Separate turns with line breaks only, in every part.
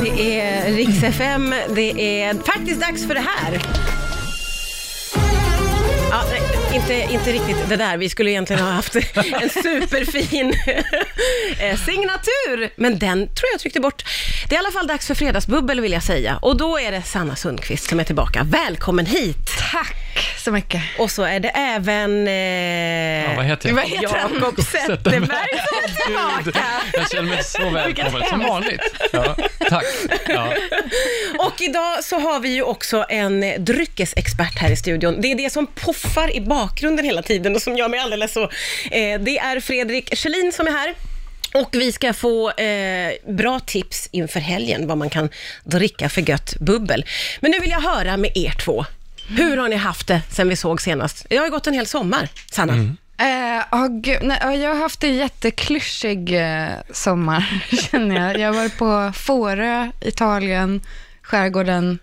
det är Rix FM, det är faktiskt dags för det här. Ja, nej, inte, inte riktigt det där, vi skulle egentligen ha haft en superfin eh, signatur, men den tror jag tryckte bort. Det är i alla fall dags för fredagsbubbel vill jag säga, och då är det Sanna Sundqvist som är tillbaka. Välkommen hit!
Tack så mycket.
Och så är det även
Ja, vad
eh,
heter jag?
Vad heter han?
Jakob Zetterberg som är tillbaka.
Jag känner mig så välkommen,
Vilket
som
hemskt.
vanligt. Ja, tack. Ja.
Och idag så har vi ju också en eh, dryckesexpert här i studion. Det är det som poffar i bakgrunden hela tiden och som gör mig alldeles så. Eh, det är Fredrik Kjellin som är här. Och vi ska få eh, bra tips inför helgen, vad man kan dricka för gött bubbel. Men nu vill jag höra med er två. Hur har ni haft det sen vi såg senast? Det har ju gått en hel sommar, Sanna.
Eh, åh, gud, nej, ja, jag har haft en jätteklyschig eh, sommar, känner jag. Jag var på Fårö, Italien, skärgården,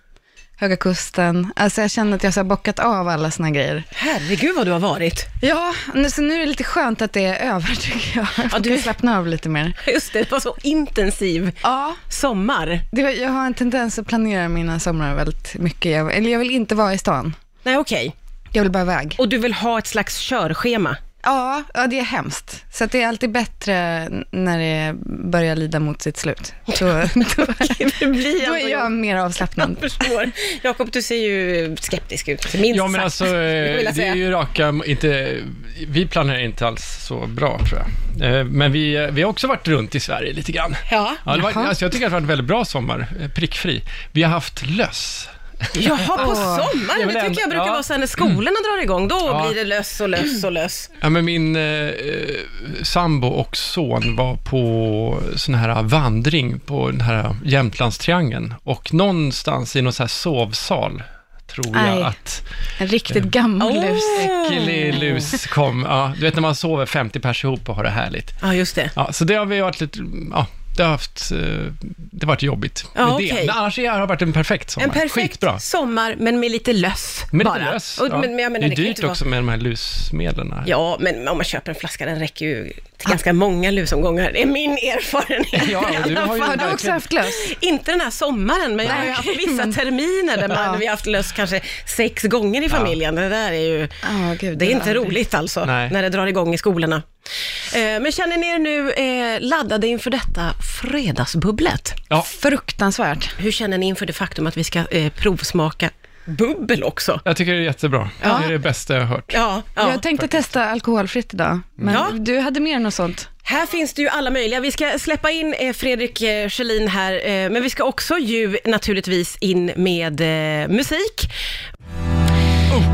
Höga Kusten. Alltså jag känner att jag så har bockat av alla såna grejer.
Herregud vad du har varit.
Ja, nu, så nu är det lite skönt att det är över, tycker jag. Jag
Ja,
kan
du-
slappna av lite mer.
Just det, det var så intensiv
Ja,
sommar.
det, var- jag har en tendens att planera mina somrar väldigt mycket. Jag, eller jag vill inte vara i stan.
Nej, okej.
Jag vill bara iväg.
Och du vill ha ett slags körschema?
Ja, ja, det är hemskt. Så att det är alltid bättre n- när det börjar lida mot sitt slut. Då, då,
Det blir
då
ändå
är jag mer avslappnad.
förstår. Jakob, du ser ju skeptisk ut, minst
ja, men
sagt,
alltså,
skulle jag vilja
eh, det
säga.
är ju raka, inte, vi planerar inte alls så bra tror jag. Eh, Men vi, eh, vi har också varit runt i Sverige lite grann.
Ja.
Ja, det var,
Jaha.
alltså, jag tycker att det har varit en väldigt bra sommar, eh, prickfri. Vi har haft löss.
Jaha, på
Åh.
sommaren?
Jag
Det
vill
tycker
ändå-
jag brukar
ja.
vara så här när skolorna drar igång, då
Ja.
blir det löss och löss och löss.
Ja, men min eh, eh, sambo och son var på sån här vandring på den här Jämtlandstriangeln och någonstans i någon sån här sovsal tror jag
Aj.
att
En riktigt
Mm.
gammal
Åh.
lus.
äcklig lus kom. Ja, du vet när man sover 50 pers ihop och har det härligt.
Ja, just det.
Ja, så det har vi varit lite, ja, det har haft, eh, det har varit jobbigt
Ja,
med
okej.
det. Men annars har det har varit en perfekt sommar.
En perfekt
Skitbra.
sommar, men med lite löss
Men
bara.
lite lös.
Och,
ja.
men, men jag menar,
det är
kan ju
dyrt
inte vara-
också med de här lusmedlen. här.
Ja, men om man köper en flaska, den räcker ju till ganska många lusomgångar. Det är min erfarenhet.
Ja, och du har ju
Har du också
verkligen-
haft lös?
Inte den här sommaren, men jag har ju
Nej,
haft
okej,
vissa
men-
terminer där man,
Ja.
vi har haft löss kanske sex gånger i familjen. Det där är ju...
Ja, gud,
Det är inte
var-
roligt alltså,
Nej.
när det drar igång i skolorna. Eh, Men känner ni er nu eh, laddade inför detta fredagsbubblet?
Ja.
Fruktansvärt.
Hur känner ni inför det faktum att vi ska eh, provsmaka bubbel också?
Jag tycker det är jättebra.
Ja.
Det är det bästa jag har hört.
Ja, ja.
jag tänkte testa alkoholfritt idag, men
Ja.
du hade mer än något sånt.
här finns det ju alla möjliga. Vi ska släppa in eh, Fredrik eh, Kjellin här, eh, men vi ska också ju naturligtvis in med eh, musik.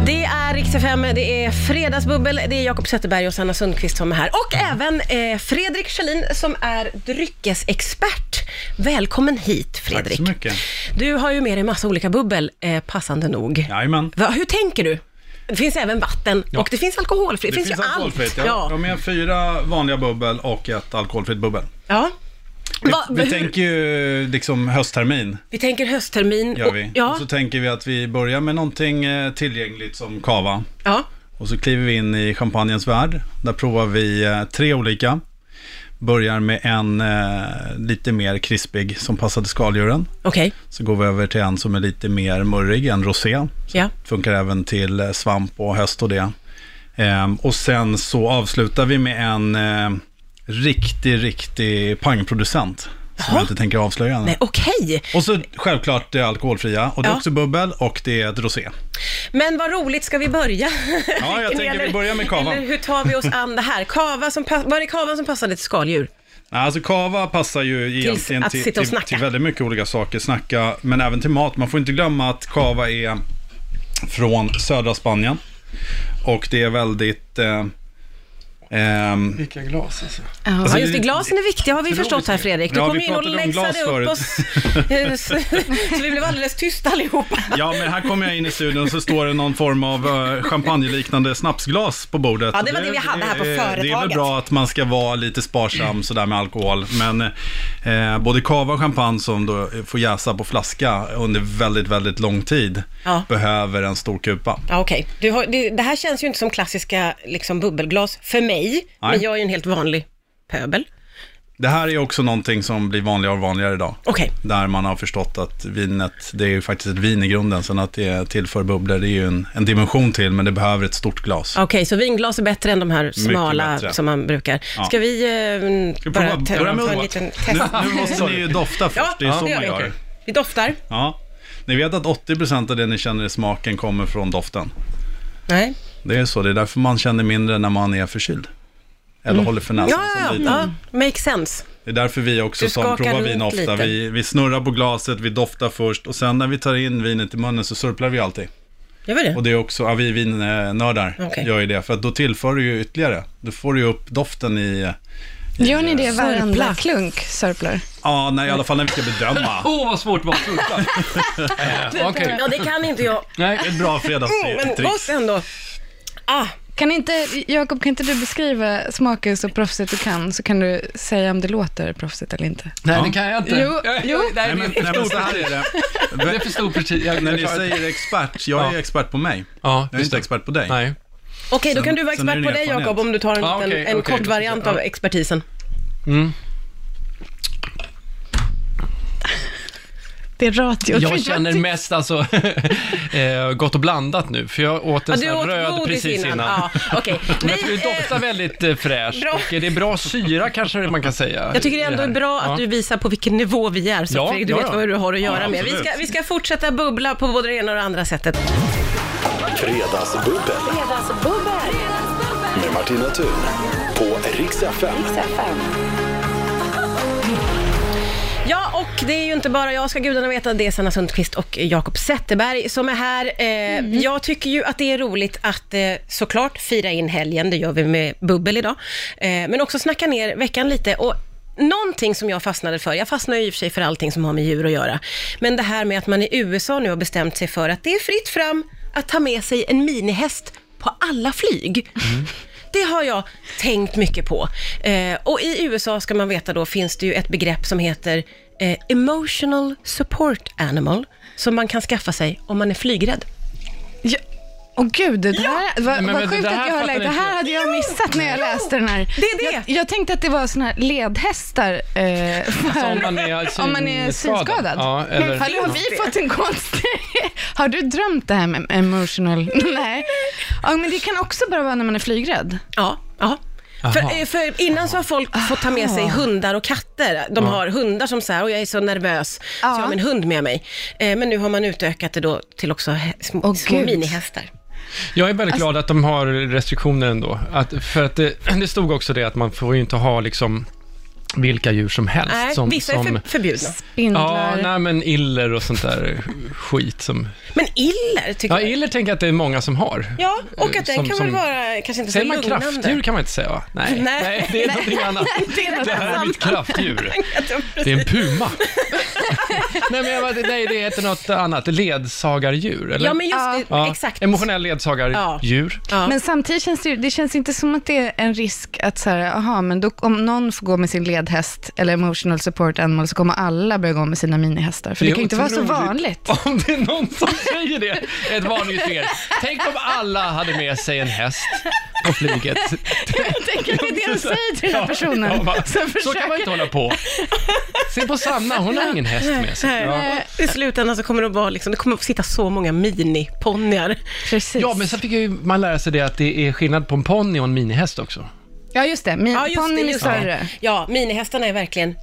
Det är Rix FM, det är Fredagsbubbel, det är Jakob Zetterberg och Sanna Sundqvist som är här. Och även eh, Fredrik Kjellin som är dryckesexpert. Välkommen hit Fredrik.
Tack så mycket.
Du har ju med dig massa olika bubbel, eh, passande nog.
Jajamän.
Va, hur tänker du? Det finns även vatten och det finns alkoholfritt.
Det finns,
ju
alkoholfritt.
allt.
Jag jag har med fyra vanliga bubbel och ett alkoholfritt bubbel.
Ja.
Vi,
Va,
vi
hur-
tänker ju liksom hösttermin,
vi tänker hösttermin.
gör
och-
vi.
Ja,
Och så tänker vi att vi börjar med någonting eh, tillgängligt som kava.
ja.
Och så kliver vi in i champagnens värld. Där provar vi eh, tre olika. Börjar med en eh, lite mer krispig som passar till skaldjuren.
okej.
Så går vi över till en som är lite mer murrig, en rosé.
Ja.
Funkar även till eh, svamp och höst och det. Ehm, och sen så avslutar vi med en eh, riktig, riktig pangproducent. Som
Jaha.
jag inte tänker avslöja nu.
Nej, okej.
Och så självklart det alkoholfria. Och det är
Ja.
också bubbel och det är ett rosé.
Men vad roligt, ska vi börja?
Ja, jag tänker vi börjar med kavan.
Eller hur tar vi oss an det här? Kava som, pass- var det kavan som passade till skaldjur?
Nej, alltså kava passar ju egentligen
att
till,
sitta och
till,
snacka.
till väldigt mycket olika saker. Snacka, men även till mat. Man får inte glömma att kava är från södra Spanien. Och det är väldigt... Eh, ehm,
Vilka glas alltså.
Ja.
Ja,
Alltså,
just det,
det-
glasen är viktiga har vi
Otroligt
förstått här Fredrik. Du
Ja,
kom
vi
ju in och
pratade om
läxade upp
glas förut.
oss, så så vi blev alldeles tysta allihopa.
Ja, men här kommer jag in i studion så står det någon form av eh, champagneliknande snapsglas på bordet.
Ja, det var det vi hade här på
det- Det är väl
företaget.
bra att man ska vara lite sparsam sådär med alkohol. Men eh, både cava och champagne som då får jäsa på flaska under väldigt, väldigt lång tid
Ja.
behöver en stor kupa.
Ja, okej. Du har- Det, det här känns ju inte som klassiska liksom, bubbelglas för mig, men jag är ju en helt vanlig pöbel.
Det här är också någonting som blir vanligare och vanligare idag.
Okej.
Där man har förstått att vinet, det är ju faktiskt ett vin i grunden. Sen att det tillför bubblor, det är ju en, en dimension till, men det behöver ett stort glas.
Okej, så vinglas är bättre än de här smala
bättre.
som man brukar.
Ja.
Ska vi eh,
vi
bara
prova-
ta,
börja med
ta en
att-
liten test?
Nu, nu måste ni ju dofta först,
Ja,
det är så
det gör
man
vi
gör.
inte. Vi doftar.
Ja. Ni vet att 80% av det ni känner i smaken kommer från doften.
Nej.
Det är så, det är därför man känner mindre när man är förkyld. Eller håller för
Ja,
näsan
Mm. ja,
som
ja.
liten.
Make sense.
Det är därför vi också
Du
som
skakar
provar
runt
vin ofta,
lite.
vi, vi snurrar på glaset, vi doftar först och sen när vi tar in vinet i munnen så surplar vi alltid.
Gör vi
Och
det?
det är också, ja, vi vinnördar
Okej.
gör ju det, för att då tillför du ju ytterligare. Då får du ju upp doften i,
Gör ni det varenda
Sörpla.
klunk, sörplar?
ja, nej, i alla fall när vi ska bedöma.
Oh.
Åh, vad svårt det var att sluta. Eh, Okej,
Ja, det kan inte jag. Mm,
nej.
Ett bra
Oh, Men
fredagstrix.
gott ändå. Ah,
Kan inte, Jakob, kan inte du beskriva smaken så proffsigt du kan, så kan du säga om det låter proffsigt eller inte?
Nej,
Ja.
det kan jag inte.
Jo,
Jag-
jo.
Nej, det
Nej,
är
men,
för
nej, men
stor
så här är det.
prestige. Det är för stor prestige. Jag-
När
jag
ni
klarar inte.
säger expert, jag är
Ja.
expert på mig.
Ja,
Jag är
just
inte
det.
expert på dig.
Nej.
Okej, då
Sen-
kan du vara
sen är
expert
det
på
en Ah,
dig
erfarenhet.
Jakob om du tar en,
Ja,
liten-
okej,
en
okej,
kort
då-
variant av
ja.
expertisen.
Mm.
Det är ratio.
Jag känner mest alltså, eh, gott och blandat nu, för jag åt en
Ja,
sån
du
här
åt
röd
godis
precis
innan.
innan.
Ja, okej.
Men jag
Vi,
tycker det
eh,
doftar väldigt eh, fräscht
bra.
och eh, det är bra syra kanske man kan säga.
Jag tycker det
i
ändå är
här.
bra
Ja.
att du visar på vilken nivå vi är, så
Ja,
att Fredrik, du
ja,
vet
ja.
vad du har att göra
Ja,
med. Vi ska,
absolut.
vi ska fortsätta bubbla på både det ena och det andra sättet.
Fredagsbubbel med Martina Thun på Rix FM.
Ja, och det är ju inte bara jag, ska gudarna veta, det är Sanna Sundqvist och Jakob Zetterberg som är här. Eh, Jag tycker ju att det är roligt att eh, såklart fira in helgen, det gör vi med bubbel idag, eh, men också snacka ner veckan lite. Och Någonting som jag fastnade för, jag fastnar ju i och för sig för allting som har med djur att göra, men det här med att man i USA nu har bestämt sig för att det är fritt fram att ta med sig en minihäst på alla flyg. Det har jag tänkt mycket på. Eh, och i USA ska man veta då finns det ju ett begrepp som heter eh, emotional support animal som man kan skaffa sig om man är flygrädd.
Ja. Åh gud, det här, vad,
Nej, men
vad
det
sjukt
där
att jag har
fattar
läst. Det
inte
här
jag.
hade jag missat när jag läste den här.
Det är det.
Jag, jag tänkte att det var såna här ledhästar. Eh,
Så
för,
Alltså, om man är,
om man är synskadad.
Ja, eller,
Hallå, har vi fått en konstig... Har du drömt det här med emotional... Nej. Ja, men det kan också bara vara när man är flygrädd.
Ja, ja.
Aha.
För, eh, för innan så har folk fått ta med sig hundar och katter. De har hundar som säger, och jag är så nervös, så jag har
Ja.
min hund med mig. Eh, men nu har man utökat det då till också hä- små,
Åh,
små
gud.
minihästar.
jag är väldigt
Alltså-
glad att de har restriktioner ändå. Att, för att det, det stod också det att man får ju inte ha liksom vilka djur som helst.
Nej,
som,
vissa är
som,
för, förbjudna.
Spindlar.
Ja, nej men iller och sånt där skit som...
Men iller tycker
Ja,
jag.
iller tänker jag att det är många som har.
Ja, och
Eh,
att den
som-
kan väl
som-
vara kanske inte så
Säger man
lugnande.
kraftdjur kan man inte säga va? Nej,
Nej.
nej, det är någonting annat. Det här är mitt kraftdjur. Det är en puma. nej, men jag, bara- nej, det heter något annat. Ledsagardjur, eller?
Ja, men just det.
Ja,
Exakt.
Emotionell ledsagardjur.
Ja.
Men samtidigt känns det, ju- det känns inte som att det är en risk att så här, aha, men då, om någon får gå med sin ledhäst eller emotional support animal så kommer alla börja gå med sina minihästar. För det,
är
kan ju inte vara så
otroligt
vanligt.
Om det är någon som säger det, ett varningens fel. Tänk om alla hade med sig en häst på flyget.
Jag tänker att det är det de säger till den här personen.
Ja, va?
som
så kan man
försöker-
inte hålla på. Se på Sanna, hon har ingen häst med sig. Ja.
Nej, Eh, I slutändan så kommer det att vara liksom, det kommer att sitta så många miniponnyar.
Precis.
Ja, men sen fick jag ju man lära sig det att det är skillnad på en ponny och en minihäst också.
Ja, just det. Min, ponnyn är större.
Ja, minihästarna är verkligen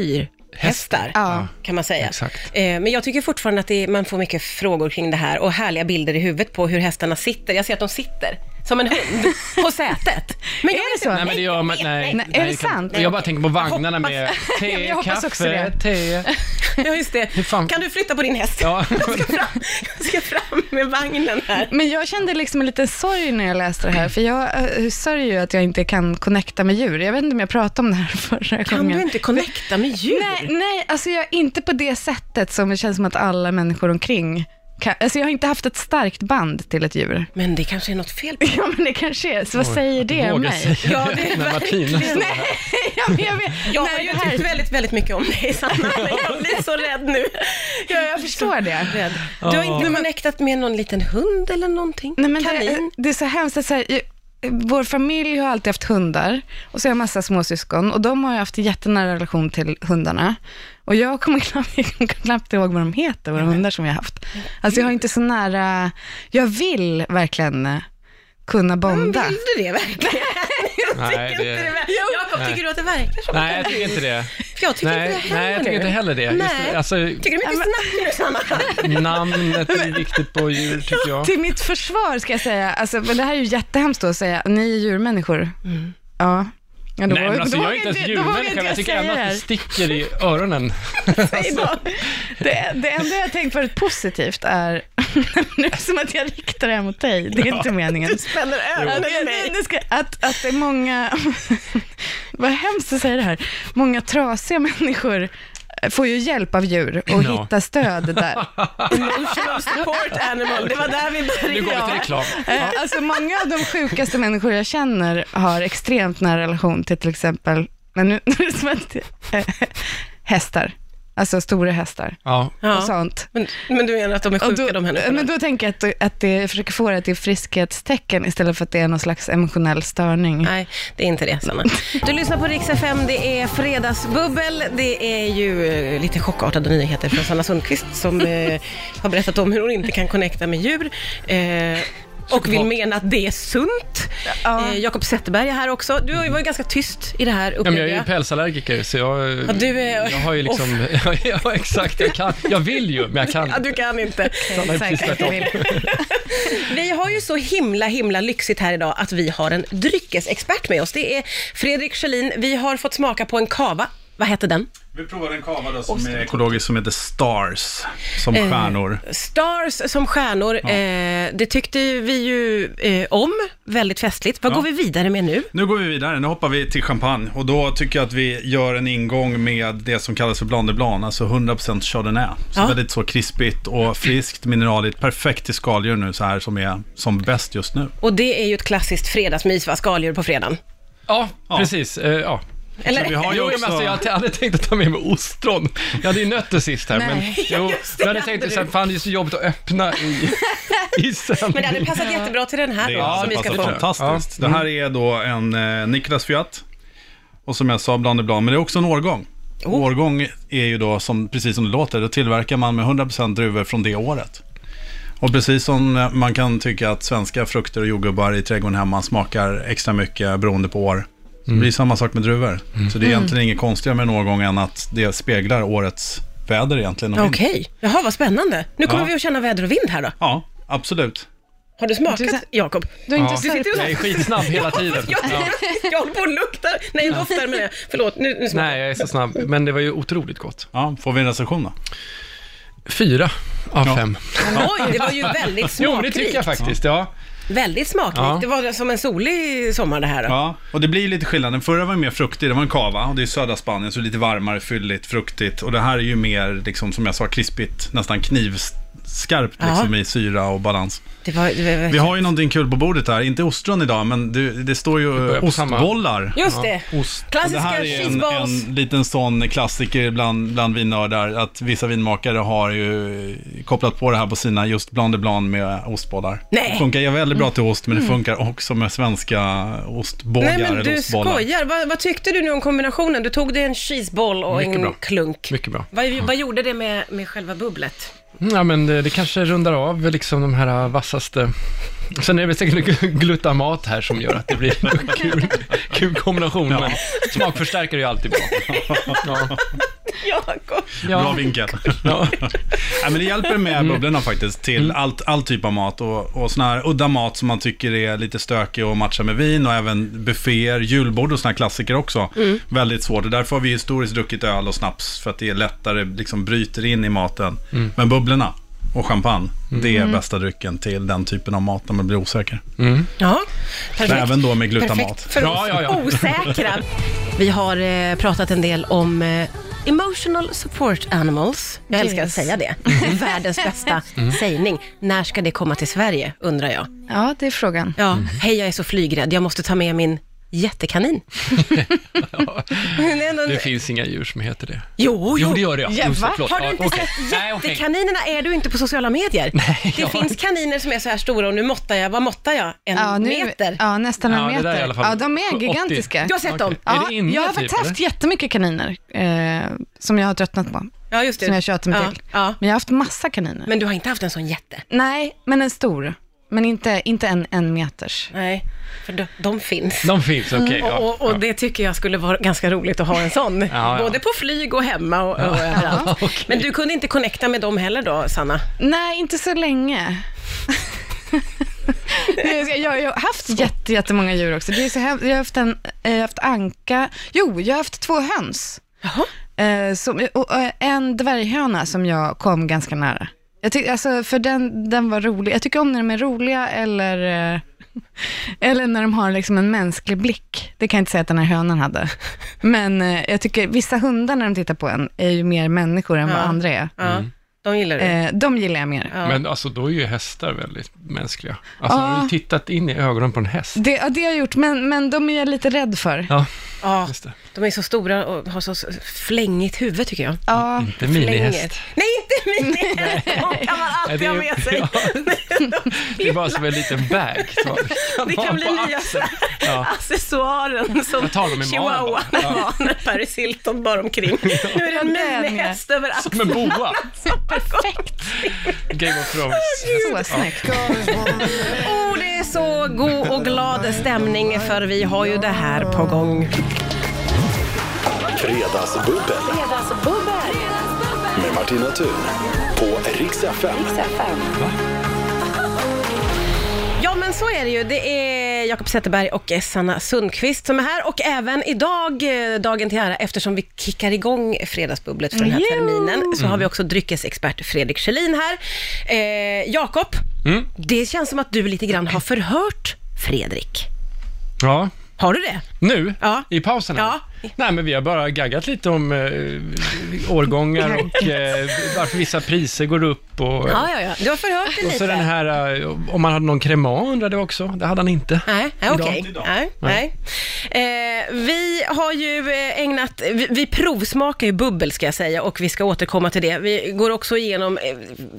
miniatyrhästar.
Ja.
kan man säga.
Exakt.
Eh, Men jag tycker fortfarande att det är, man får mycket frågor kring det här och härliga bilder i huvudet på hur hästarna sitter. Jag ser att de sitter som en hund på sätet. Men jag
Är
vet
det så?
Nej, men det gör man nej,
Nej, är det
kan-
sant?
Jag bara tänker på vagnarna med
men
te,
jag hoppas också
kaffe,
det.
te.
inte. Ja, just det.
fan-
Kan du flytta på din häst?
Ja.
Jag, ska fram, jag ska fram med vagnen här.
Men jag kände liksom en liten sorg när jag läste det här, för jag eh, sörjer ju att jag inte kan connecta med djur. Jag vet inte om jag pratade om det här förra
Kan
gången.
du inte connecta med djur?
Nej, nej, alltså jag är inte på det sättet som det känns som att alla människor omkring kan, alltså jag har inte haft ett starkt band till ett djur.
Men det kanske är något fel på
Ja, men det kanske är, så vad säger det om
Våga
mig?
säga
Ja,
det,
det är
när Martina
verkligen-
står
Nej,
här.
ja, men jag vet.
Jag
nej,
har ju
det här-
tyckt väldigt, väldigt mycket om dig, Sanna. men Jag blir så rädd nu.
Ja, jag förstår det.
Rädd. Du har inte connectat med någon liten hund eller någonting?
Nej, men
Kanin?
Det, det är så hemskt att så här, jag, vår familj har alltid haft hundar och så har jag massa småsyskon och de har ju haft jättenära relation till hundarna. Och jag kommer knappt, jag kommer knappt ihåg vad de heter, våra hundar som jag har haft. Alltså jag har inte så nära, jag vill verkligen eh, kunna bonda.
Vill du det verkligen? Jag tycker
Nej,
inte
det-
det. verkar- Jakob,
Nej.
tycker du att det verkar så?
Nej, jag tycker inte det.
För jag tycker
nej,
inte det heller
nej, jag tycker
nu.
inte heller det. Just,
Nej.
alltså,
Tycker du mycket snack nu, Sanna?
namnet är viktigt på djur, tycker jag.
Till mitt försvar ska jag säga, alltså, men det här är ju jättehemskt då att säga, ni är djurmänniskor.
Mm.
Ja. Ja, då
Nej,
vågar-
men alltså,
då
jag är
vågar
inte ens
då vågar
djurmänniska,
inte
men jag tycker
säga
ändå
det
att
här.
det sticker i öronen.
Alltså,
Det, det enda jag tänkt på ett positivt är, nu är det som att jag riktar det här mot dig, det är inte meningen. Du spänner ögonen i mig. Att, att det är många, vad hemskt att säga det här, många trasiga människor eh, får ju hjälp av djur och
Ja.
hitta stöd där.
Emotional support animal, det var där vi
Nu går vi till
började.
reklam.
Eh, Alltså många av de sjukaste människor jag känner har extremt nära relation till till exempel, men nu, nu är det som att, eh, hästar, alltså stora hästar
Ja,
och
Ja.
sånt.
Men, men du menar att de är
Och
sjuka,
då,
de här människorna?
men då tänker jag att, att det, jag försöker få det till friskhetstecken istället för att det är någon slags emotionell störning.
Nej, det är inte det, Sanna. Du lyssnar på Rix FM, det är fredagsbubbel. Det är ju eh, lite chockartade nyheter från Sanna Sundqvist som eh, har berättat om hur hon inte kan connecta med djur. Eh, och vill mena att det är sunt.
Ja.
Eh, Jakob Zetterberg är här också. Du var ju ganska tyst i det här
Ja, men jag
upplevde
är ju pälsallergiker, så jag,
Ja, du är-
jag har ju liksom... ja, exakt. Jag, kan, jag vill ju, men jag kan
Ja,
inte.
du kan inte.
Det är precis
Säkert.
tvärtom.
Vi har ju så himla, himla lyxigt här idag att vi har en dryckesexpert med oss. Det är Fredrik Schelin. Vi har fått smaka på en kava. Vad heter den?
Vi provar en kava då som är ekologisk som heter Stars, som
Eh,
stjärnor.
Stars som stjärnor, eh, det tyckte vi ju eh, om. Väldigt festligt. Vad
Ja.
går vi vidare med nu?
Nu går vi vidare, nu hoppar vi till champagne. Och då tycker jag att vi gör en ingång med det som kallas för blanc de blanc, alltså 100% chardonnay. Så
Ja.
väldigt så krispigt och friskt, mineraligt, perfekt till skaldjur nu så här som är som bäst just nu.
Och det är ju ett klassiskt fredagsmys, va? Skaldjur på fredagen.
Ja,
Ja.
precis. Eh, Ja.
Eller?
Så vi har ju
Jo, men
också...
alltså, jag hade aldrig tänkt att ta med mig ostron. Jag hade ju nötter sist här, men
Nej.
jo,
just det,
jag hade
hade
tänkt
du.
så här, fan det är så jobbigt att öppna i, i
Men det
sändning.
hade passat jättebra till den här
Det
då,
är
som vi
alltså
ska
passar
få.
bra.
fantastiskt. Det här är då en eh, Niklas Fiat. Och som jag sa, bland det bland, men det är också en årgång.
Oh.
Årgång är ju då, som, precis som det låter, då tillverkar man med 100% druvor från det året. Och precis som eh, man kan tycka att svenska frukter och jordgubbar i trädgården hemma smakar extra mycket beroende på år, så det blir samma sak med druvor. Så det är egentligen inget konstigare med en årgång än att det speglar årets väder egentligen. och vind.
Okej, jaha vad spännande. Nu kommer
Ja.
vi att känna väder och vind här då.
Ja, absolut.
Har du
Du sa-
smakat, Jakob?
Du har inte
Ja.
sörplat.
Du sitter
Jag är skitsnabb hela tiden.
Jag,
Ja.
jag håller på och luktar. Nej, doftar med det. Förlåt, nu, nu smakar
Nej, jag är så snabb, men det var ju otroligt gott.
Ja, får vi en recension då?
Fyra av
Ja.
fem.
jag. Oj, det var ju väldigt
Jo, det tycker
smakrikt.
jag faktiskt. Ja.
Väldigt smakrikt.
Ja.
Det var som en solig sommar det här. Då.
Ja, och det blir ju lite skillnad. Den förra var ju mer fruktig, det var en cava och det är södra Spanien så det är lite varmare, fylligt, fruktigt. Och det här är ju mer, liksom, som jag sa, krispigt, nästan knivskarpt
Ja.
liksom, i syra och balans.
Det var, det var,
Vi har ju någonting kul på bordet här, inte ostron idag, men det, det står ju eh,
börjar på samma.
ostbollar.
Just det.
Ost.
Och Det
Klassiska
här är en,
cheeseballs.
en liten sån klassiker bland, bland vinnördar, att vissa vinmakare har ju kopplat på det här på sina just blanc de blanc med ostbollar.
Nej. Mm.
Det funkar ju väldigt bra till ost, men det funkar också med svenska ostbågar
Nej men
eller
du
ostbollar.
skojar. Vad, vad tyckte du nu om kombinationen? Du tog dig en cheeseball och
Mycket
en
bra.
klunk.
Mycket bra.
Vad, vad gjorde det med, med själva bubblet?
Ja, men det, det kanske rundar av liksom de här vassaste... Sen är det väl säkert glutamat här som gör att det blir en kul, kul kombination, men smakförstärkare är ju alltid bra. Ja.
Jakob.
Bra
Ja.
vinkel.
Ja.
Nej, men det hjälper med bubblorna faktiskt till allt, all typ av mat och, och sån här udda mat som man tycker är lite stökig och matchar med vin och även bufféer, julbord och såna här klassiker också. Väldigt svårt och därför har vi historiskt druckit öl och snaps för att det är lättare, liksom bryter in i maten. Men bubblorna och champagne, det är bästa drycken till den typen av mat när man blir osäker.
Ja, perfekt.
Men även då med glutamat.
Perfekt för
Ja,
oss
ja, ja.
osäkra. Vi har eh, pratat en del om eh, emotional support animals. Jag
Yes.
älskar att säga det. Världens bästa sägning. När ska det komma till Sverige, undrar jag.
Ja, det är frågan.
Ja, hej jag är så flygrädd, jag måste ta med min jättekanin. det är ändå en-
Det finns inga djur som heter det.
Jo,
Jo, det gör det, ja. Jo,
va?
såklart.
Har du
Ja,
inte
okej.
sett
Nej, okej.
jättekaninerna? Är du inte på sociala medier?
Nej,
det
jag har
finns
inte-
kaniner som är så här stora och nu måttar jag, vad måttar jag? En
Ja, nu,
meter?
ja nästan en
Ja, det där
meter.
är i alla fall
ja, de är
80.
gigantiska.
Du har sett
Okej.
dem?
Ja,
Är det inne
jag har
typ,
faktiskt haft
eller?
jättemycket kaniner eh, som jag har tröttnat på,
Ja, just det.
som jag tjatar mig
Typ. ja,
till.
Ja.
Men jag har haft massa kaniner.
Men du har inte haft en sån jätte?
Nej, men en stor. Men inte, inte en, en meters.
Nej, för de, de finns.
De finns, okej. ja,
och, och, och
ja.
det tycker jag skulle vara ganska roligt att ha en sån.
ja.
Både på flyg och hemma och, och överallt.
Ja, okej.
Men du kunde inte connecta med dem heller då, Sanna?
Nej, inte så länge. jag, jag, jag har haft jätte, jättemånga djur också. Det är så hemskt. jag, har haft en, jag har haft anka. Jo, jag har haft två höns.
Jaha.
Eh, som, och, och en dvärghöna som jag kom ganska nära. Jag tyck, alltså, för den, den var rolig. Jag tycker om när de är roliga eller, eh, eller när de har liksom en mänsklig blick. Det kan jag inte säga att den här hönan hade. Men eh, jag tycker vissa hundar när de tittar på en är ju mer människor än
Ja.
vad andra är.
Ja,
Mm.
de gillar du.
Eh, de gillar jag mer.
Ja.
Men alltså, då är ju hästar väldigt mänskliga. Alltså,
Ja.
har du tittat in i ögonen på en häst?
Det, ja, det har jag gjort, men, men de är jag lite rädd för.
Ja,
Ja,
just det.
de är så stora och har så så flängigt huvud tycker jag.
Ja,
Inte minihäst.
Flänger. Nej, inte minihäst! De kan man
Nej,
alltid
det är-
ha med sig.
Ja. Det är bara som en liten bag. Så.
Det kan bli nya
Ja.
accessoaren som
Jag tar dem i magen
chihuahua
bara.
var när Paris Hilton bar omkring. Nu är det en
Ja, den, ja.
minihäst överallt.
Som en boa.
Perfekt!
Game of Thrones.
så snyggt.
Oh, det är så god och glad stämning för vi har ju det här på gång.
Fredagsbubbel med Martina Thun på Rix FM.
Ja, men så är det ju. Det är Jakob Zetterberg och Sanna Sundqvist som är här och även idag, eh, dagen till ära, eftersom vi kickar igång Fredagsbubblet för den här
Jo!
terminen, så har
Mm.
vi också dryckesexpert Fredrik Kjellin här. Eh, Jakob,
Mm.
det känns som att du lite grann har förhört Fredrik.
Ja.
Har du det?
Nu?
Ja.
I pausen? här?
Ja.
Nej, men vi har bara gaggat lite om eh, årgångar och eh, varför vissa priser går upp och,
Ja, ja, ja. Du har förhört dig
och så
lite.
den här, eh, om man hade någon crema undrade jag också. Det hade han inte.
Nej, nej, okej.
Idag.
Nej, nej. Eh, vi har ju eh, ägnat, vi, vi provsmakar ju bubbel ska jag säga och vi ska återkomma till det. Vi går också igenom eh,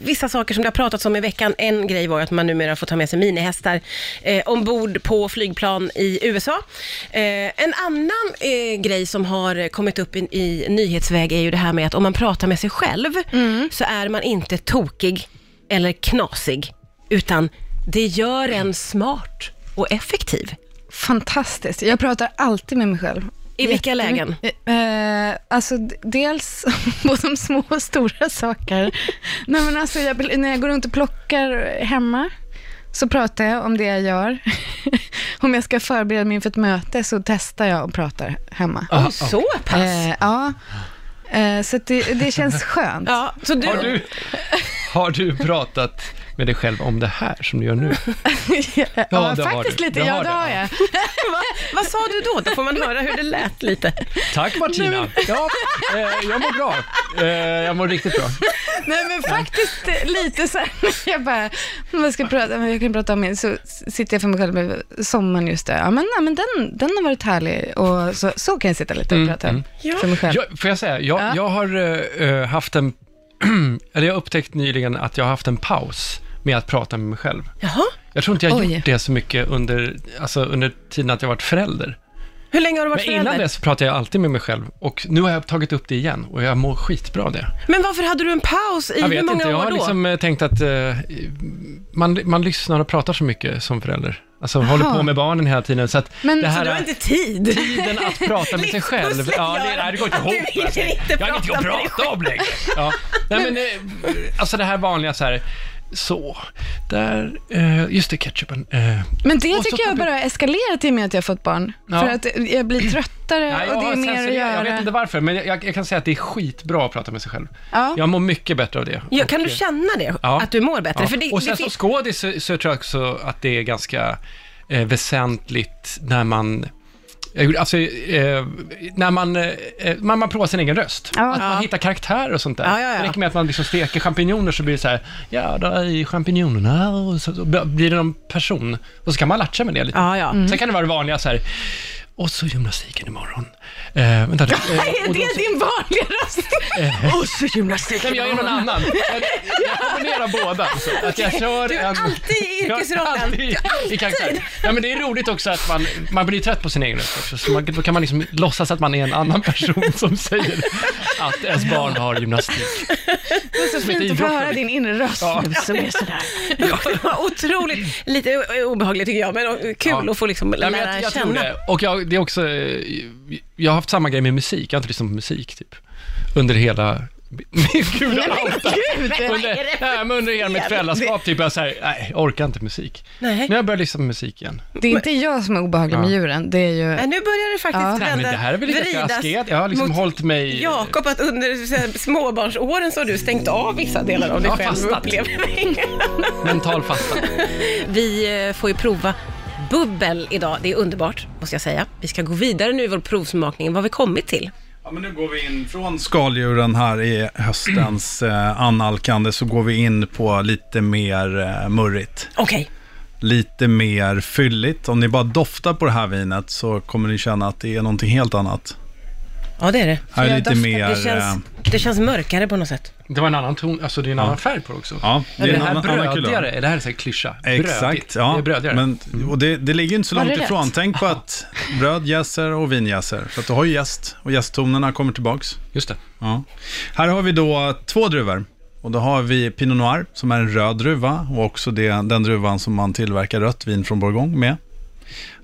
vissa saker som det har pratats om i veckan. En grej var ju att man numera får ta med sig minihästar eh, ombord på flygplan i USA. Eh, en annan eh, grej som har kommit upp i, i nyhetsväg är ju det här med att om man pratar med sig själv så är man inte tokig eller knasig utan det gör en smart och effektiv.
Fantastiskt. Jag pratar alltid med mig själv.
I vilka
Jättemy-
lägen?
Eh, alltså, d- dels både om små och stora saker. Nej, men alltså, jag, när jag går runt och plockar hemma så pratar jag om det jag gör. om jag ska förbereda mig inför ett möte så testar jag och pratar hemma.
Ah,
Och så pass?
Eh, ja. Eh, så att det, det känns skönt. Eh,
ja, så du,
Har, du, har du pratat med dig själv om det här som du gör nu?
ja,
har
faktiskt
du.
lite.
Det
ja,
har
det
du.
har jag.
va, vad sa du då? Då får man höra hur det lät lite.
Tack Martina. Ja, eh, jag mår bra. Eh, jag mår riktigt bra.
Nej men faktiskt eh, lite så här, jag bara, "Men vad ska jag prata om, jag kan prata om min, så s- sitter jag för mig själv med sommaren just där. Ja men, ja, men den, den har varit härlig och så, så kan jag sitta lite och
Mm,
prata
Ja.
för mig själv.
Jag, får jag säga, jag,
Ja.
jag har eh, eh, haft en, eller jag har upptäckt nyligen att jag har haft en paus med att prata med mig själv.
Jaha,
Jag tror inte jag har
Oj.
gjort det så mycket under, alltså under tiden att jag varit förälder.
hur länge har du varit
Men innan
förälder?
dess pratade jag alltid med mig själv och nu har jag tagit upp det igen och jag mår skitbra av det.
Men varför hade du en paus i
Jag
hur
vet
många
inte, jag
år
har
då?
liksom eh, tänkt att eh, man, man lyssnar och pratar så mycket som förälder. Alltså håller på med barnen hela tiden så att
Men-
det
så
här...
Du har inte tid.
Tiden att prata med sig själv.
Livspusslet
Ja,
gör
det, nej, det går inte
att
ihop.
du hinner
alltså.
inte
jag har inget
prata
att
med dig
prata om längre. Ja. Nej, men, eh, alltså det här vanliga så här, så, där, eh, just det, ketchupen. Eh,
Men det
Och så
tycker jag
kom
bara har eskalerat i och med att jag har fått barn.
Ja. Mm.
För att jag blir tröttare
nej,
och det är
har
mer att
censurerat. Jag vet inte
göra.
varför, men jag, jag kan säga att det är skitbra att prata med sig själv.
Ja.
Jag mår mycket bättre av det.
Ja, kan
Och,
du
eh,
känna det?
Ja.
Att du mår bättre?
Ja.
För det,
och sen
det
som
finns-
skådis så, så tror jag också att det är ganska eh, väsentligt när man jag gjorde- Alltså, eh, när man, eh, man, man provar sin egen röst.
Ja.
Att man hittar karaktärer och sånt där.
Ja, ja, ja.
Det räcker med att man liksom steker champinjoner så blir det så här, ja, där är champinjonerna här", och så, så blir det någon person. Och så kan man latcha med det lite.
Ja, Mm. ja.
Sen kan det vara det vanliga så här, Och så gymnastiken imorgon. Eh, vänta, eh,
Är det din vanliga röst? Och så gymnastik.
jag gör någon annan. Jag, jag kombinerar båda. Alltså. Att jag kör
Du är
en...
alltid i
Jag är
yrkesrollen.
alltid i- i karaktär. Ja, men det är roligt också att man, man blir trött på sin egen röst också, så man, då kan man liksom låtsas att man är en annan person som säger att ens barn har gymnastik.
Det är så
ett
fint att få höra
idrottsprogram.
din inre röst
Ja.
nu som är sådär.
Det var otroligt, lite o- obehagligt tycker jag, men kul
Ja.
att få liksom lära
Nej, men jag, jag tror
känna.
det. Och jag, det är också, eh, jag har haft samma grej med musik, jag har inte lyssnat på musik typ, under hela Gud, jag outar.
är det
under,
för
nej, men under hela mitt
fel?
föräldraskap, typ, jag säger, nej, jag orkar inte musik.
Nej.
Nu har jag börjat lyssna på musik igen.
Det är inte jag som är obehaglig med
Ja.
djuren, det är ju...
Nej, nu börjar det faktiskt
Ja.
ja.
Nej,
vända.
Men det här är väl lite
vridas
asket? Jag har liksom
mot-
hållit mig...
Jakob, att under så här, småbarnsåren så har du stängt av vissa delar av dig
Ja,
själv och
fastat.
upplever-
Mental fasta.
Vi eh, får ju prova bubbel idag. Det är underbart, måste jag säga. Vi ska gå vidare nu i vår provsmakning. Vad har vi kommit till?
Ja, men nu går vi in från skaldjuren här i höstens eh, annalkande så går vi in på lite mer eh, murrigt.
Okej.
Lite mer fylligt. Om ni bara doftar på det här vinet så kommer ni känna att det är någonting helt annat.
Ja, det är det.
Här är
jag
lite
doftar?
mer...
Det
eh,
känns, det känns mörkare på något sätt.
Det var en annan ton, alltså det är en annan färg på det också.
Ja, det
Är
är
det
en
här
annan- annan kulör.
brödigare? Är det här så här klyscha?
Exakt,
Brödigt.
ja.
Det är brödigare.
Men, och det, det ligger ju inte så
Var det
långt
rätt?
ifrån. Tänk på att bröd jäser och vin jäser. Så att du har ju jäst och jästtonerna kommer tillbaks.
Just det.
Ja. Här har vi då två druvor. Och då har vi Pinot Noir som är en röd druva och också det, den druvan som man tillverkar rött vin från Bourgogne med.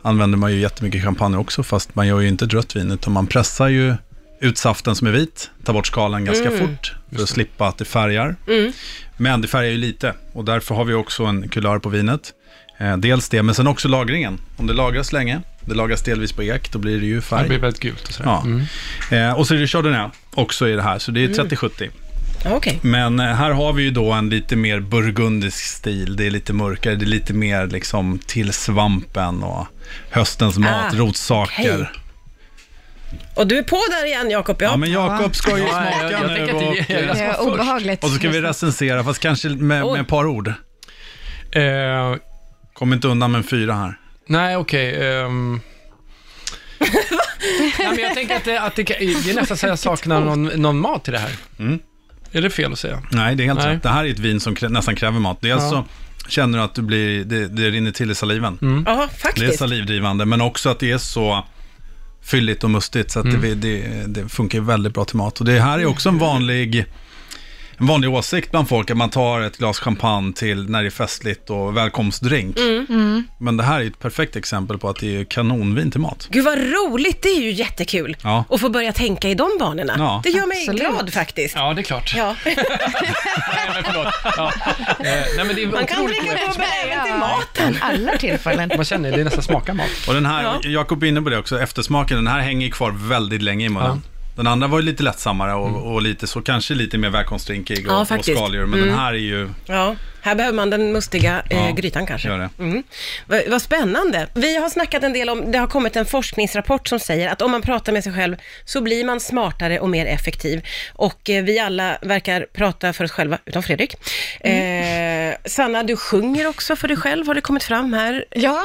Använder man ju jättemycket champagne också fast man gör ju inte ett rött vin utan man pressar ju ut saften som är vit, tar bort skalen ganska fort för att slippa att det färgar. Men det färgar ju lite och därför har vi också en kulör på vinet. Eh, dels det, men sen också lagringen. Om det lagras länge, det lagras delvis på ek, då blir det ju
Det
färg.
blir väldigt gult och sådär.
Ja.
Mm.
Eh, och så är det Chardonnay också i det här, så det är 30-70.
Ja, Okej.
Men eh, här har vi ju då en lite mer burgundisk stil. Det är lite mörkare, det är lite mer liksom till svampen och höstens mat,
Ah,
rotsaker.
okej. Och du är på där igen, Jakob. Ja.
Ja, men Jakob ska ju
Ja, jag,
smaka
jag,
nu.
tänker att det
och,
jag
Det
ska
är
vara Alltså, först.
obehagligt.
och så ska vi recensera, fast kanske med,
Oj.
med ett par ord.
Eh,
Kom inte undan med en fyra här.
nej, okej. ehm. nej, men jag tänker att det, att det, kan- det är nästan så att jag saknar någon, någon mat till det här. Är det fel att säga?
Nej, det är helt
Nej.
rätt. Det här är ett vin som krä, nästan kräver mat. Dels
Ja.
så känner du att du blir, det, det rinner till i saliven.
Mm.
Ja,
Det är
faktiskt.
salivdrivande, men också att det är så fylligt och mustigt så att det, det, det funkar ju väldigt bra till mat. Och det här är också en vanlig, en vanlig åsikt bland folk, att man tar ett glas champagne till när det är festligt och välkomstdrink.
Mm.
Men det här är ju ett perfekt exempel på att det är kanonvin till mat.
Gud vad roligt, det är ju jättekul
Ja.
att få börja tänka i de banorna.
Ja.
Det gör mig
Absolut.
glad faktiskt.
Ja, det är klart.
Ja.
Nej, men förlåt. Ja. Eh, nej, men det är
Man kan
otroligt
dricka
gott.
bubbel även till
Ja,
mat.
Alla tillfällen.
Man känner, det är nästan smaka mat.
Och den här,
Ja.
Jakob är inne på det också, eftersmaken, den här hänger kvar väldigt länge i munnen. Den andra var ju lite lättsammare och, och lite så, kanske lite mer välkomstdrinkig och,
Ja,
och
faktiskt.
skaldjur. Men den här är ju,
Ja, här behöver man den mustiga eh,
Ja,
grytan kanske.
gör det.
Mm. Vad, vad spännande. Vi har snackat en del om, det har kommit en forskningsrapport som säger att om man pratar med sig själv så blir man smartare och mer effektiv. Och eh, vi alla verkar prata för oss själva, utom Fredrik. Eh, Sanna, du sjunger också för dig själv, har det kommit fram här.
Ja,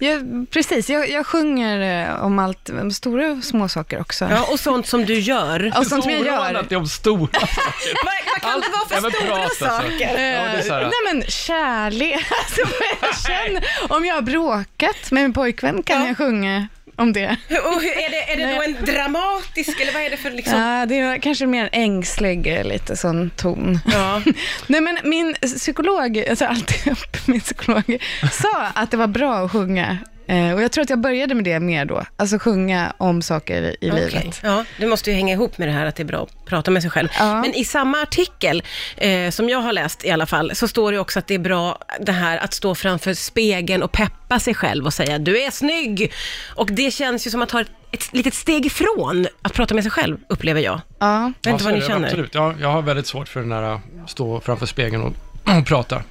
jag, precis. Jag, jag sjunger eh, om allt, om stora och små saker också.
Ja, och sånt som du gör.
Och sånt som jag
Oroande
gör.
att det är om stora
Vad, vad kan det vara
Ja,
för
men
stora
prat, alltså.
saker?
Ja, det är så
Eh,
här,
Nej men kärlek, alltså, vad jag känner, om jag har bråkat med min pojkvän kan
Ja.
jag sjunga om det.
Och hur- är det, är det då en dramatisk, eller vad är det för liksom?
Ja, det är kanske mer ängslig, eh, lite sån ton.
Ja.
Nej men min psykolog, alltså alltid upp, min psykolog, sa att det var bra att sjunga. Eh, och jag tror att jag började med det mer då, alltså sjunga om saker i- i
Okej.
livet.
Ja, det måste ju hänga ihop med det här att det är bra att prata med sig själv.
Ja.
Men i samma artikel, eh, som jag har läst i alla fall, så står det också att det är bra det här att stå framför spegeln och peppa sig själv och säga du är snygg. Och det känns ju som att ta ett, ett litet steg ifrån att prata med sig själv, upplever jag.
Ja.
Jag vet inte vad ni
Ja,
känner.
Absolut. Ja, jag har väldigt svårt för den här äh, stå framför spegeln och, och prata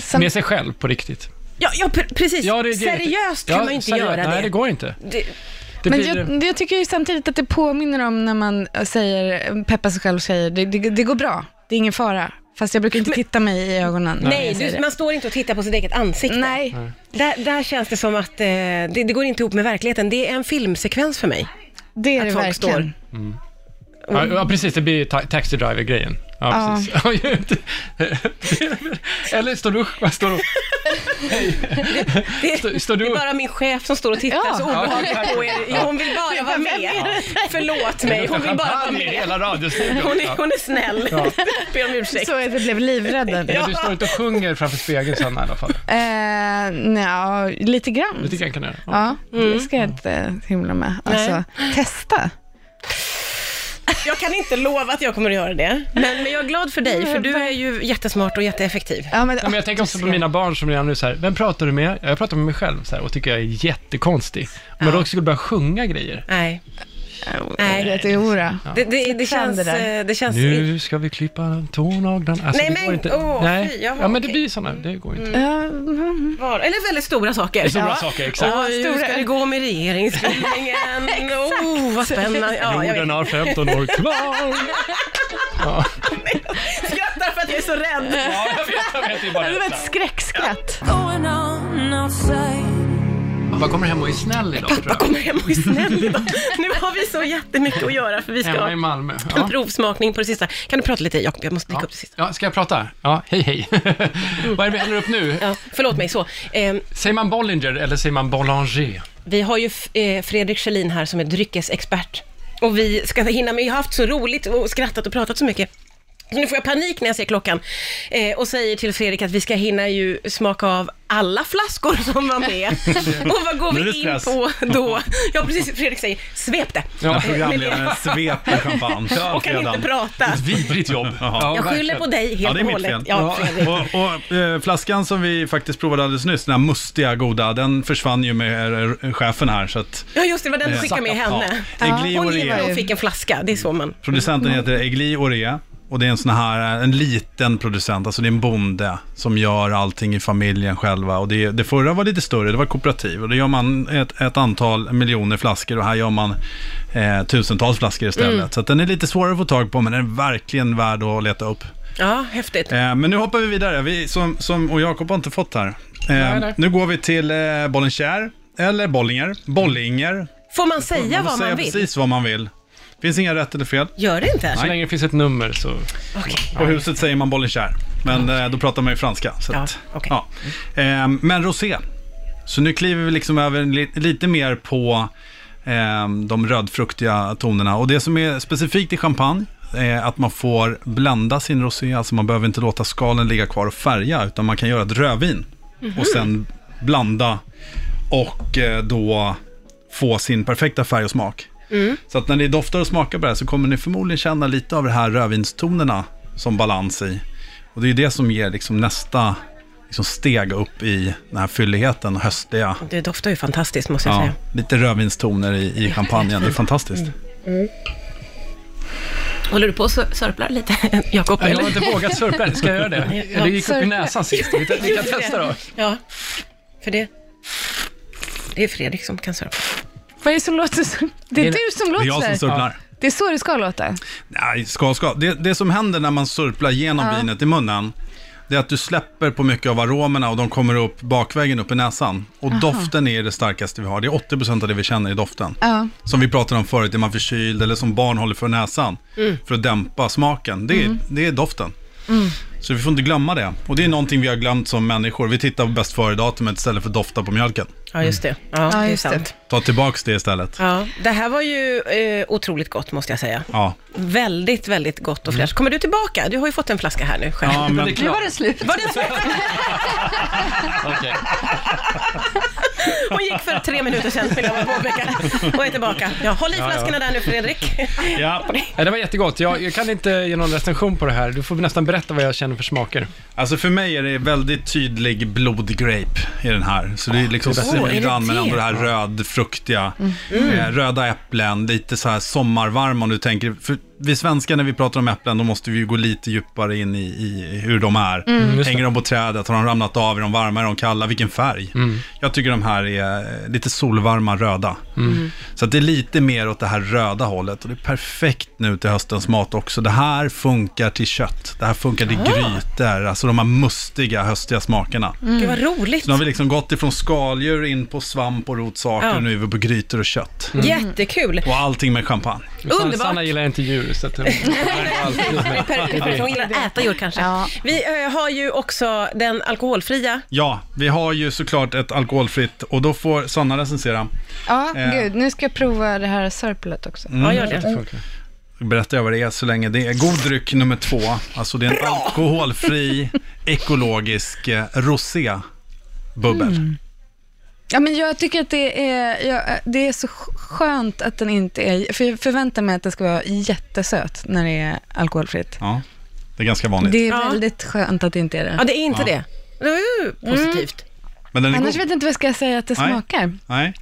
Sam-
med sig själv på riktigt.
Ja, ja pr- precis.
Ja, det- det-
seriöst kan
ja,
man ju inte
seriöst.
göra
Nej,
det.
det går inte.
Det-
Det
Men
blir,
jag, jag tycker ju samtidigt eh, att det påminner om när man säger, peppar sig själv och säger det, det, det går bra, det är ingen fara. Fast jag brukar inte titta mig i ögonen. när
Nej,
jag säger
du,
det.
man står inte och tittar på sitt eget ansikte.
Nej.
Där, där känns det som att eh, det, det går inte ihop med verkligheten. Det är en filmsekvens för mig.
det är
Att
det
folk står.
verkligen.
Ja, ja, precis. Det blir ta- taxi driver-grejen. Ja,
Ja.
precis. Ja. ju- Eller står du... Vad står du?
Det,
Står- står du
det är
upp?
bara min chef som står och tittar
Ja.
så obehagligt på er. Hon vill bara vara med. Förlåt mig, hon vill bara vara
Champagne i
med.
hela
Hon
radiostudion.
är, hon är snäll. Ber om ursäkt.
Så att jag blev livrädd. där.
Men du står inte och sjunger framför spegeln, Sanna, i alla fall.
Eh, nja, lite grann.
Det tycker jag kan göra. Ja.
Ja, det ska jag inte himla med. Alltså, testa.
Jag kan inte lova att jag kommer att göra det. Men, men jag är glad för dig, för du är ju jättesmart och jätteeffektiv.
Ja, men,
Nej, men jag tänker också på mina barn som redan nu så här, vem pratar du med? Jag pratar med mig själv så här, och tycker jag är jättekonstig. Men då skulle börja sjunga grejer.
Nej,
Nej.
Nej.
Det är ora.
det, det, det
Fixar
känns...
det där.
eh, Det känns
Nu ska vi klippa tånaglarna. Alltså,
Nej,
det
men,
går inte.
åh,
Nej,
fy, jaha,
ja, men det
okej.
blir sådana, det går inte.
Ja, mm.
var, eller väldigt stora saker.
Stora
Ja.
saker, exakt.
Oj, hur
stora.
ska det gå med regeringsbildningen? oh, vad spännande. Ja, jag
Jorden
vet.
har 15 år kvar.
skrattar för att jag är så rädd.
Ja, jag vet, jag vet, det är bara
det var
detta.
ett skräckskratt.
going on outside.
Pappa kommer hem och är snäll idag, tror
Pappa
jag.
kommer hem och är snäll idag. Nu har vi så jättemycket att göra för vi ska
Hemma
ha
i
en
Malmö. Ja.
provsmakning på det sista. Kan du prata lite Jakob? Jag måste dyka upp det sista.
Ja, ska jag prata? Ja, hej hej.
Mm.
Vad är det vi häller upp nu?
Ja, förlåt mig, så. Eh,
Säger man Bollinger eller säger man Bollanger?
Vi har ju f- eh, Fredrik Schelin här som är dryckesexpert. Och vi ska hinna med, jag har haft så roligt och skrattat och pratat så mycket. Så nu får jag panik när jag ser klockan eh, och säger till Fredrik att vi ska hinna ju smaka av alla flaskor som var med. och vad går
Nu är det
vi in
stress.
på då? Ja, precis. Fredrik säger, svep det.
Ja,
När programledaren sveper champagne.
och kan inte prata.
ett vidrigt jobb.
Jaha.
Jag skyller
verkligen.
på dig helt
Ja, det är
och
mitt
hållet.
fel.
Ja, Fredrik.
Och, och eh, flaskan som vi faktiskt provade alldeles nyss, den här mustiga goda, den försvann ju med eh, chefen här. Så att,
ja, just det, det var den du skickade med henne.
Ja. Egli
Hon
Orea.
gillade och fick en flaska, det är så man...
Producenten heter Egli Orea. Och det är en sån här, eh, en liten producent, alltså det är en bonde som gör allting i familjen själva. Och det, det förra var lite större, det var kooperativ. Och det gör man ett, ett antal miljoner flaskor och här gör man eh, tusentals flaskor istället.
Mm.
Så att den är lite svårare att få tag på, men den är verkligen värd att leta upp.
Ja, häftigt.
Eh, men nu hoppar vi vidare, vi, som, som, och Jakob har inte fått här. Eh,
nej.
Nu går vi till eh, Bollenkär, eller Bollinger, Bollinger.
Får man säga
får
vad
säga
man vill?
precis vad man vill. Finns inga rätt eller fel.
Gör det inte?
Så länge det finns ett nummer så...
På huset säger man Bollenkär, men eh, då pratar man ju franska. Så
Ja,
att,
okej. Mm.
ja. Ehm, men rosé. Så nu kliver vi liksom över li- lite mer på ehm, de rödfruktiga tonerna. Och det som är specifikt i champagne är att man får blända sin rosé, alltså man behöver inte låta skalen ligga kvar och färga, utan man kan göra ett rödvin
Mhm.
och sen blanda och eh, då få sin perfekta färg och smak. Så att när ni doftar och smakar på det här så kommer ni förmodligen känna lite av de här rödvinstonerna som balans i. Och det är ju det som ger liksom nästa liksom steg upp i den här fylligheten, höstliga.
Det doftar ju fantastiskt måste jag
Ja,
säga.
lite rödvinstoner i, i champagnen, det är
Mm.
fantastiskt.
Håller du på och sör- sörplar lite, Jakob?
Jag har
eller?
inte vågat surpa än, ska jag göra det?
Ja.
Det gick upp i näsan sist, vi, vi kan
Just det.
testa då.
Ja, för det... Det är Fredrik som kan sörpla.
Vad är det som låter så? Det
Det
är
är-
du som
Det
låter
är jag som
så här.
surplar.
Det är så det ska låta.
Nej, ska, ska. Det, det som händer när man surplar genom
Ja.
vinet i munnen, det är att du släpper på mycket av aromerna och de kommer upp bakvägen upp i näsan. Och doften är det starkaste vi har. Det är 80% av det vi känner i doften.
Ja.
Som vi pratade om förut, är man förkyld eller som barn håller för näsan för att dämpa smaken. Det är, det är doften. Så vi får inte glömma det. Och det är någonting vi har glömt som människor. Vi tittar på bäst före-datumet istället för dofta på mjölken.
Ja, just
Mm.
det. Ja, det är
just det.
sant.
Ta tillbaks det istället.
Ja, det här var ju eh, otroligt gott måste jag säga.
Ja.
Väldigt, väldigt gott och fräscht. Kommer du tillbaka? Du har ju fått en flaska här nu själv.
Mm. Ja, men,
Nu var det slut.
Var det så?
Okej.
Hon gick för tre minuter sedan, vill jag bara påpeka. Och är tillbaka. Ja, håll i flaskorna där nu, Fredrik.
ja.
Nej, Det var jättegott. Jag, jag kan inte ge någon recension på det här. Du får nästan berätta vad jag känner för smaker.
Alltså för mig är det väldigt tydlig blodgrape i den här. Så det är liksom
är bättre. Åh, är det
syrran men
det?
ändå det här
Mm.
rödfruktiga. Eh, röda äpplen, lite så här sommarvarma om du tänker. För vi svenskar när vi pratar om äpplen, då måste vi ju gå lite djupare in i, i hur de är.
Mm. just det.
Hänger de på trädet? Har de ramlat av? Är de varma? Är de kalla? Vilken färg? Jag tycker de här är eh, lite solvarma röda.
Mm.
Så att det är lite mer åt det här röda hållet. Och det är perfekt nu till höstens mat också. Det här funkar till kött. Det här funkar
Ah.
till grytor. Alltså de här mustiga, höstiga smakerna.
Mm.
Gud, vad roligt.
Så nu har vi liksom gått ifrån skaldjur in på svamp och rotsaker.
Ja.
Och nu är vi på grytor och kött.
Jättekul.
Och allting med champagne.
Underbart.
Sanna gillar inte djur, så att hon
Per- Per- Hon gillar att äta djur kanske.
Ja.
Vi eh, har ju också den alkoholfria.
Ja, vi har ju såklart ett alkoholfritt och då får Sanna recensera.
Ja,
Eh.
gud, nu ska jag prova det här sörplet också.
Ja, gör
Mm.
det.
Berättar jag vad det är så länge det är. God dryck nummer två. Alltså det är en alkoholfri, ekologisk eh, rosé-bubbel.
Ja, men jag tycker att det är, ja, det är så sk- skönt att den inte är... För jag förväntar mig att den ska vara jättesöt när det är alkoholfritt.
Ja, det är ganska vanligt.
Det är
Ja.
väldigt skönt att det inte är det.
Ja, det är inte det. Det är ju positivt.
Men den är
Annars
god.
vet jag inte vad jag ska säga att det
Nej.
smakar.
Nej.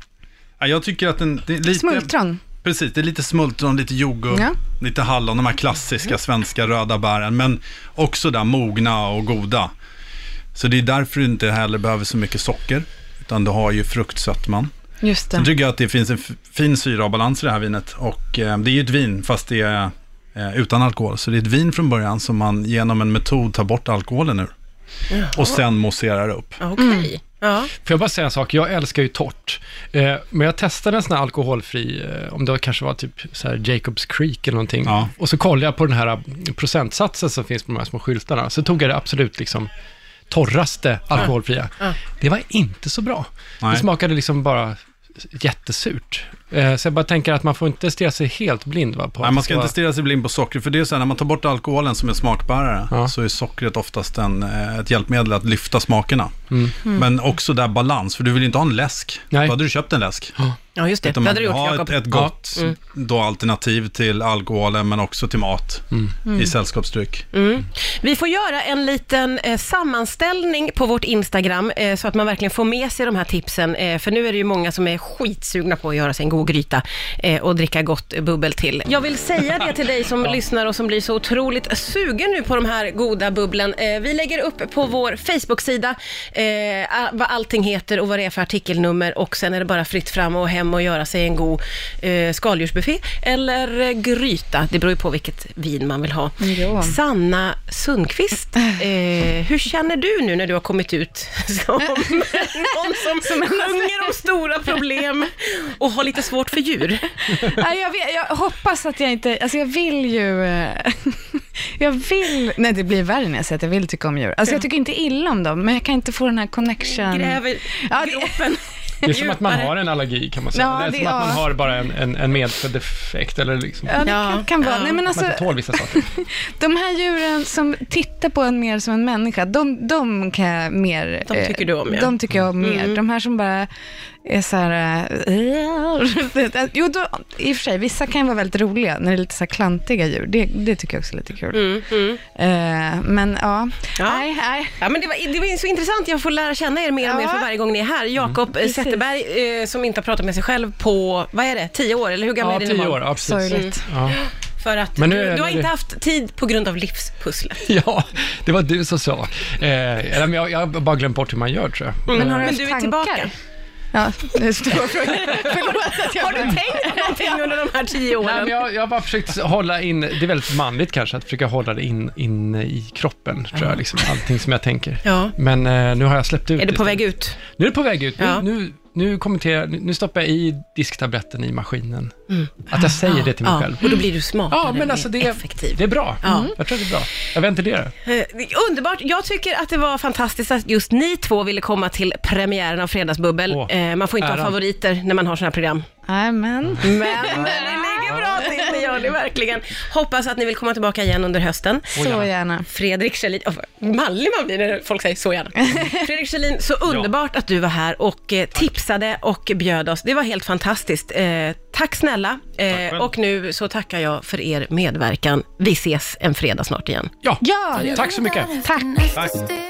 Ja, jag tycker att den... Det är lite,
Smultron.
Precis, det är lite smultron, lite jordgubb,
Ja.
lite hallon, de här klassiska svenska röda bären, men också där mogna och goda. Så det är därför du inte heller behöver så mycket socker, utan du har ju fruktsötman.
Just
Sen
det.
tycker jag att det finns en f- fin syra och balans i det här vinet. Och eh, det är ju ett vin, fast det är eh, utan alkohol. Så det är ett vin från början som man genom en metod tar bort alkoholen ur. Och sen mousserar upp.
Ja, Okej. Ja.
Får jag bara säga en sak? Jag älskar ju torrt. Eh, men jag testade en sån här alkoholfri, eh, om det kanske var typ så här Jacobs Creek eller någonting.
Ja.
Och så kollade jag på den här eh, procentsatsen som finns på de här små skyltarna. Så tog jag det absolut liksom torraste alkoholfria. Det var inte så bra.
Nej.
Det smakade liksom bara jättesurt. Eh, så jag bara tänker att man får inte stirra sig helt blind va, på
Nej,
att
man
det
ska inte
vara-
stirra sig blind på socker, för det är så här, när man tar bort alkoholen som är smakbärare,
Ja.
så är sockret oftast en, eh, ett hjälpmedel att lyfta smakerna.
Mm.
Men också där balans, för du vill ju inte ha en läsk.
Mm. Nej.
Då hade du köpt en läsk.
ja, just det.
Utan
Det
man
hade du
vill
gjort,
ha
Jakob.
ett, ett gott
Mm.
då, alternativ till alkoholen, men också till mat
Mm.
Mm.
i sällskapsdryck.
Vi får göra en liten eh, sammanställning på vårt Instagram eh, så att man verkligen får med sig de här tipsen. Eh, för nu är det ju många som är skitsugna på att göra sig en god gryta eh, och dricka gott bubbel till. Jag vill säga det till dig som lyssnar och som blir så otroligt sugen nu på de här goda bubblen. Eh, vi lägger upp på vår Facebook-sida eh, a- vad allting heter och vad det är för artikelnummer och sen är det bara fritt fram och hem och göra sig en god eh, skaldjursbuffé eller eh, gryta. Det beror ju på vilket vin man vill ha.
Ja.
Sanna Sundqvist, eh, hur känner du nu när du har kommit ut som någon som, sjunger om stora problem och har lite svårt för djur?
Nej, jag, vet, jag hoppas att jag inte... Alltså jag vill ju... eh, jag vill... Nej, det blir värre när jag säger att jag vill tycka om djur. Alltså jag tycker inte illa om dem, men jag kan inte få den här connection.
Gräver
Ja, det-
gropen
Det är som att man
djupare.
har en allergi kan man säga.
Ja,
det är
det-
som att man
ja.
har bara en, en, en medfödd defekt eller liksom.
Ja, det
Ja,
kan, kan vara.
ja.
Nej, men alltså,
Man inte tål vissa saker.
De här djuren som tittar på en mer som en människa, de, de kan jag mer... eh,
De tycker du om, ja. Mm.
De tycker jag om mer. De här som bara är så här... eh, jo, då, i och för sig, vissa kan ju vara väldigt roliga när det är lite så här klantiga djur. Det, det tycker jag också är lite kul. Eh, men ja,
Mm, Ja.
nej, nej.
Ja, men det, var, det var så intressant, jag får lära känna er mer och mer
Ja.
för varje gång ni är
Mm.
här. Jakob eh,
Precis.
Zetterberg, eh, som inte har pratat med sig själv på, vad är det, tio år? Eller hur gammal
Ja,
är din
tio
man?
år. Ja, precis.
Mm.
Sorgligt.
Ja.
För att
Men nu
du,
är-
du har
nu-
inte haft tid på grund av livspusslet.
Ja, det var du som sa. Eh, eller, men jag, jag har bara glömt bort hur man gör tror jag. Mm.
Men har du
Men
haft
du är
tankar?
tillbaka.
Ja, det är stor fråga. Förlåt att jag
Har du tänkt på någonting under de här tio
Nej,
åren?
men jag, jag har bara försökt hålla in, det är väldigt manligt kanske, att försöka hålla det in, in i kroppen, tror jag, liksom, allting som jag tänker.
Ja.
Men eh, nu har jag släppt ut
Är du på
istället.
väg ut?
Nu är det på väg ut.
Ja.
Nu, nu, nu, kommenterar, nu nu stoppar jag i disktabletten i maskinen. Att jag säger det till mig
Mm. Ja,
själv.
och då blir du smartare
Ja, men
mer
alltså det,
effektiv.
det är bra.
Ja.
Jag tror det är bra. Jag ventilerar.
Eh, Underbart. Jag tycker att det var fantastiskt att just ni två ville komma till premiären av Fredagsbubbel.
Åh,
Eh, man får inte ha
äran.
favoriter när man har sådana här program.
Nej,
Men
men...
ni ligger bra till, det gör ni verkligen. Hoppas att ni vill komma tillbaka igen under hösten.
Så gärna.
Fredrik Kjellin, oh, vad mallig man blir när folk säger så gärna. Fredrik Kjellin, så underbart att du var här och eh, tipsade och bjöd oss. Det var helt fantastiskt. Eh, tack snälla. Eh,
själv.
och nu så tackar jag för er medverkan. Vi ses en fredag snart igen.
Ja,
Ja,
tack så mycket.
Mm.
Tack.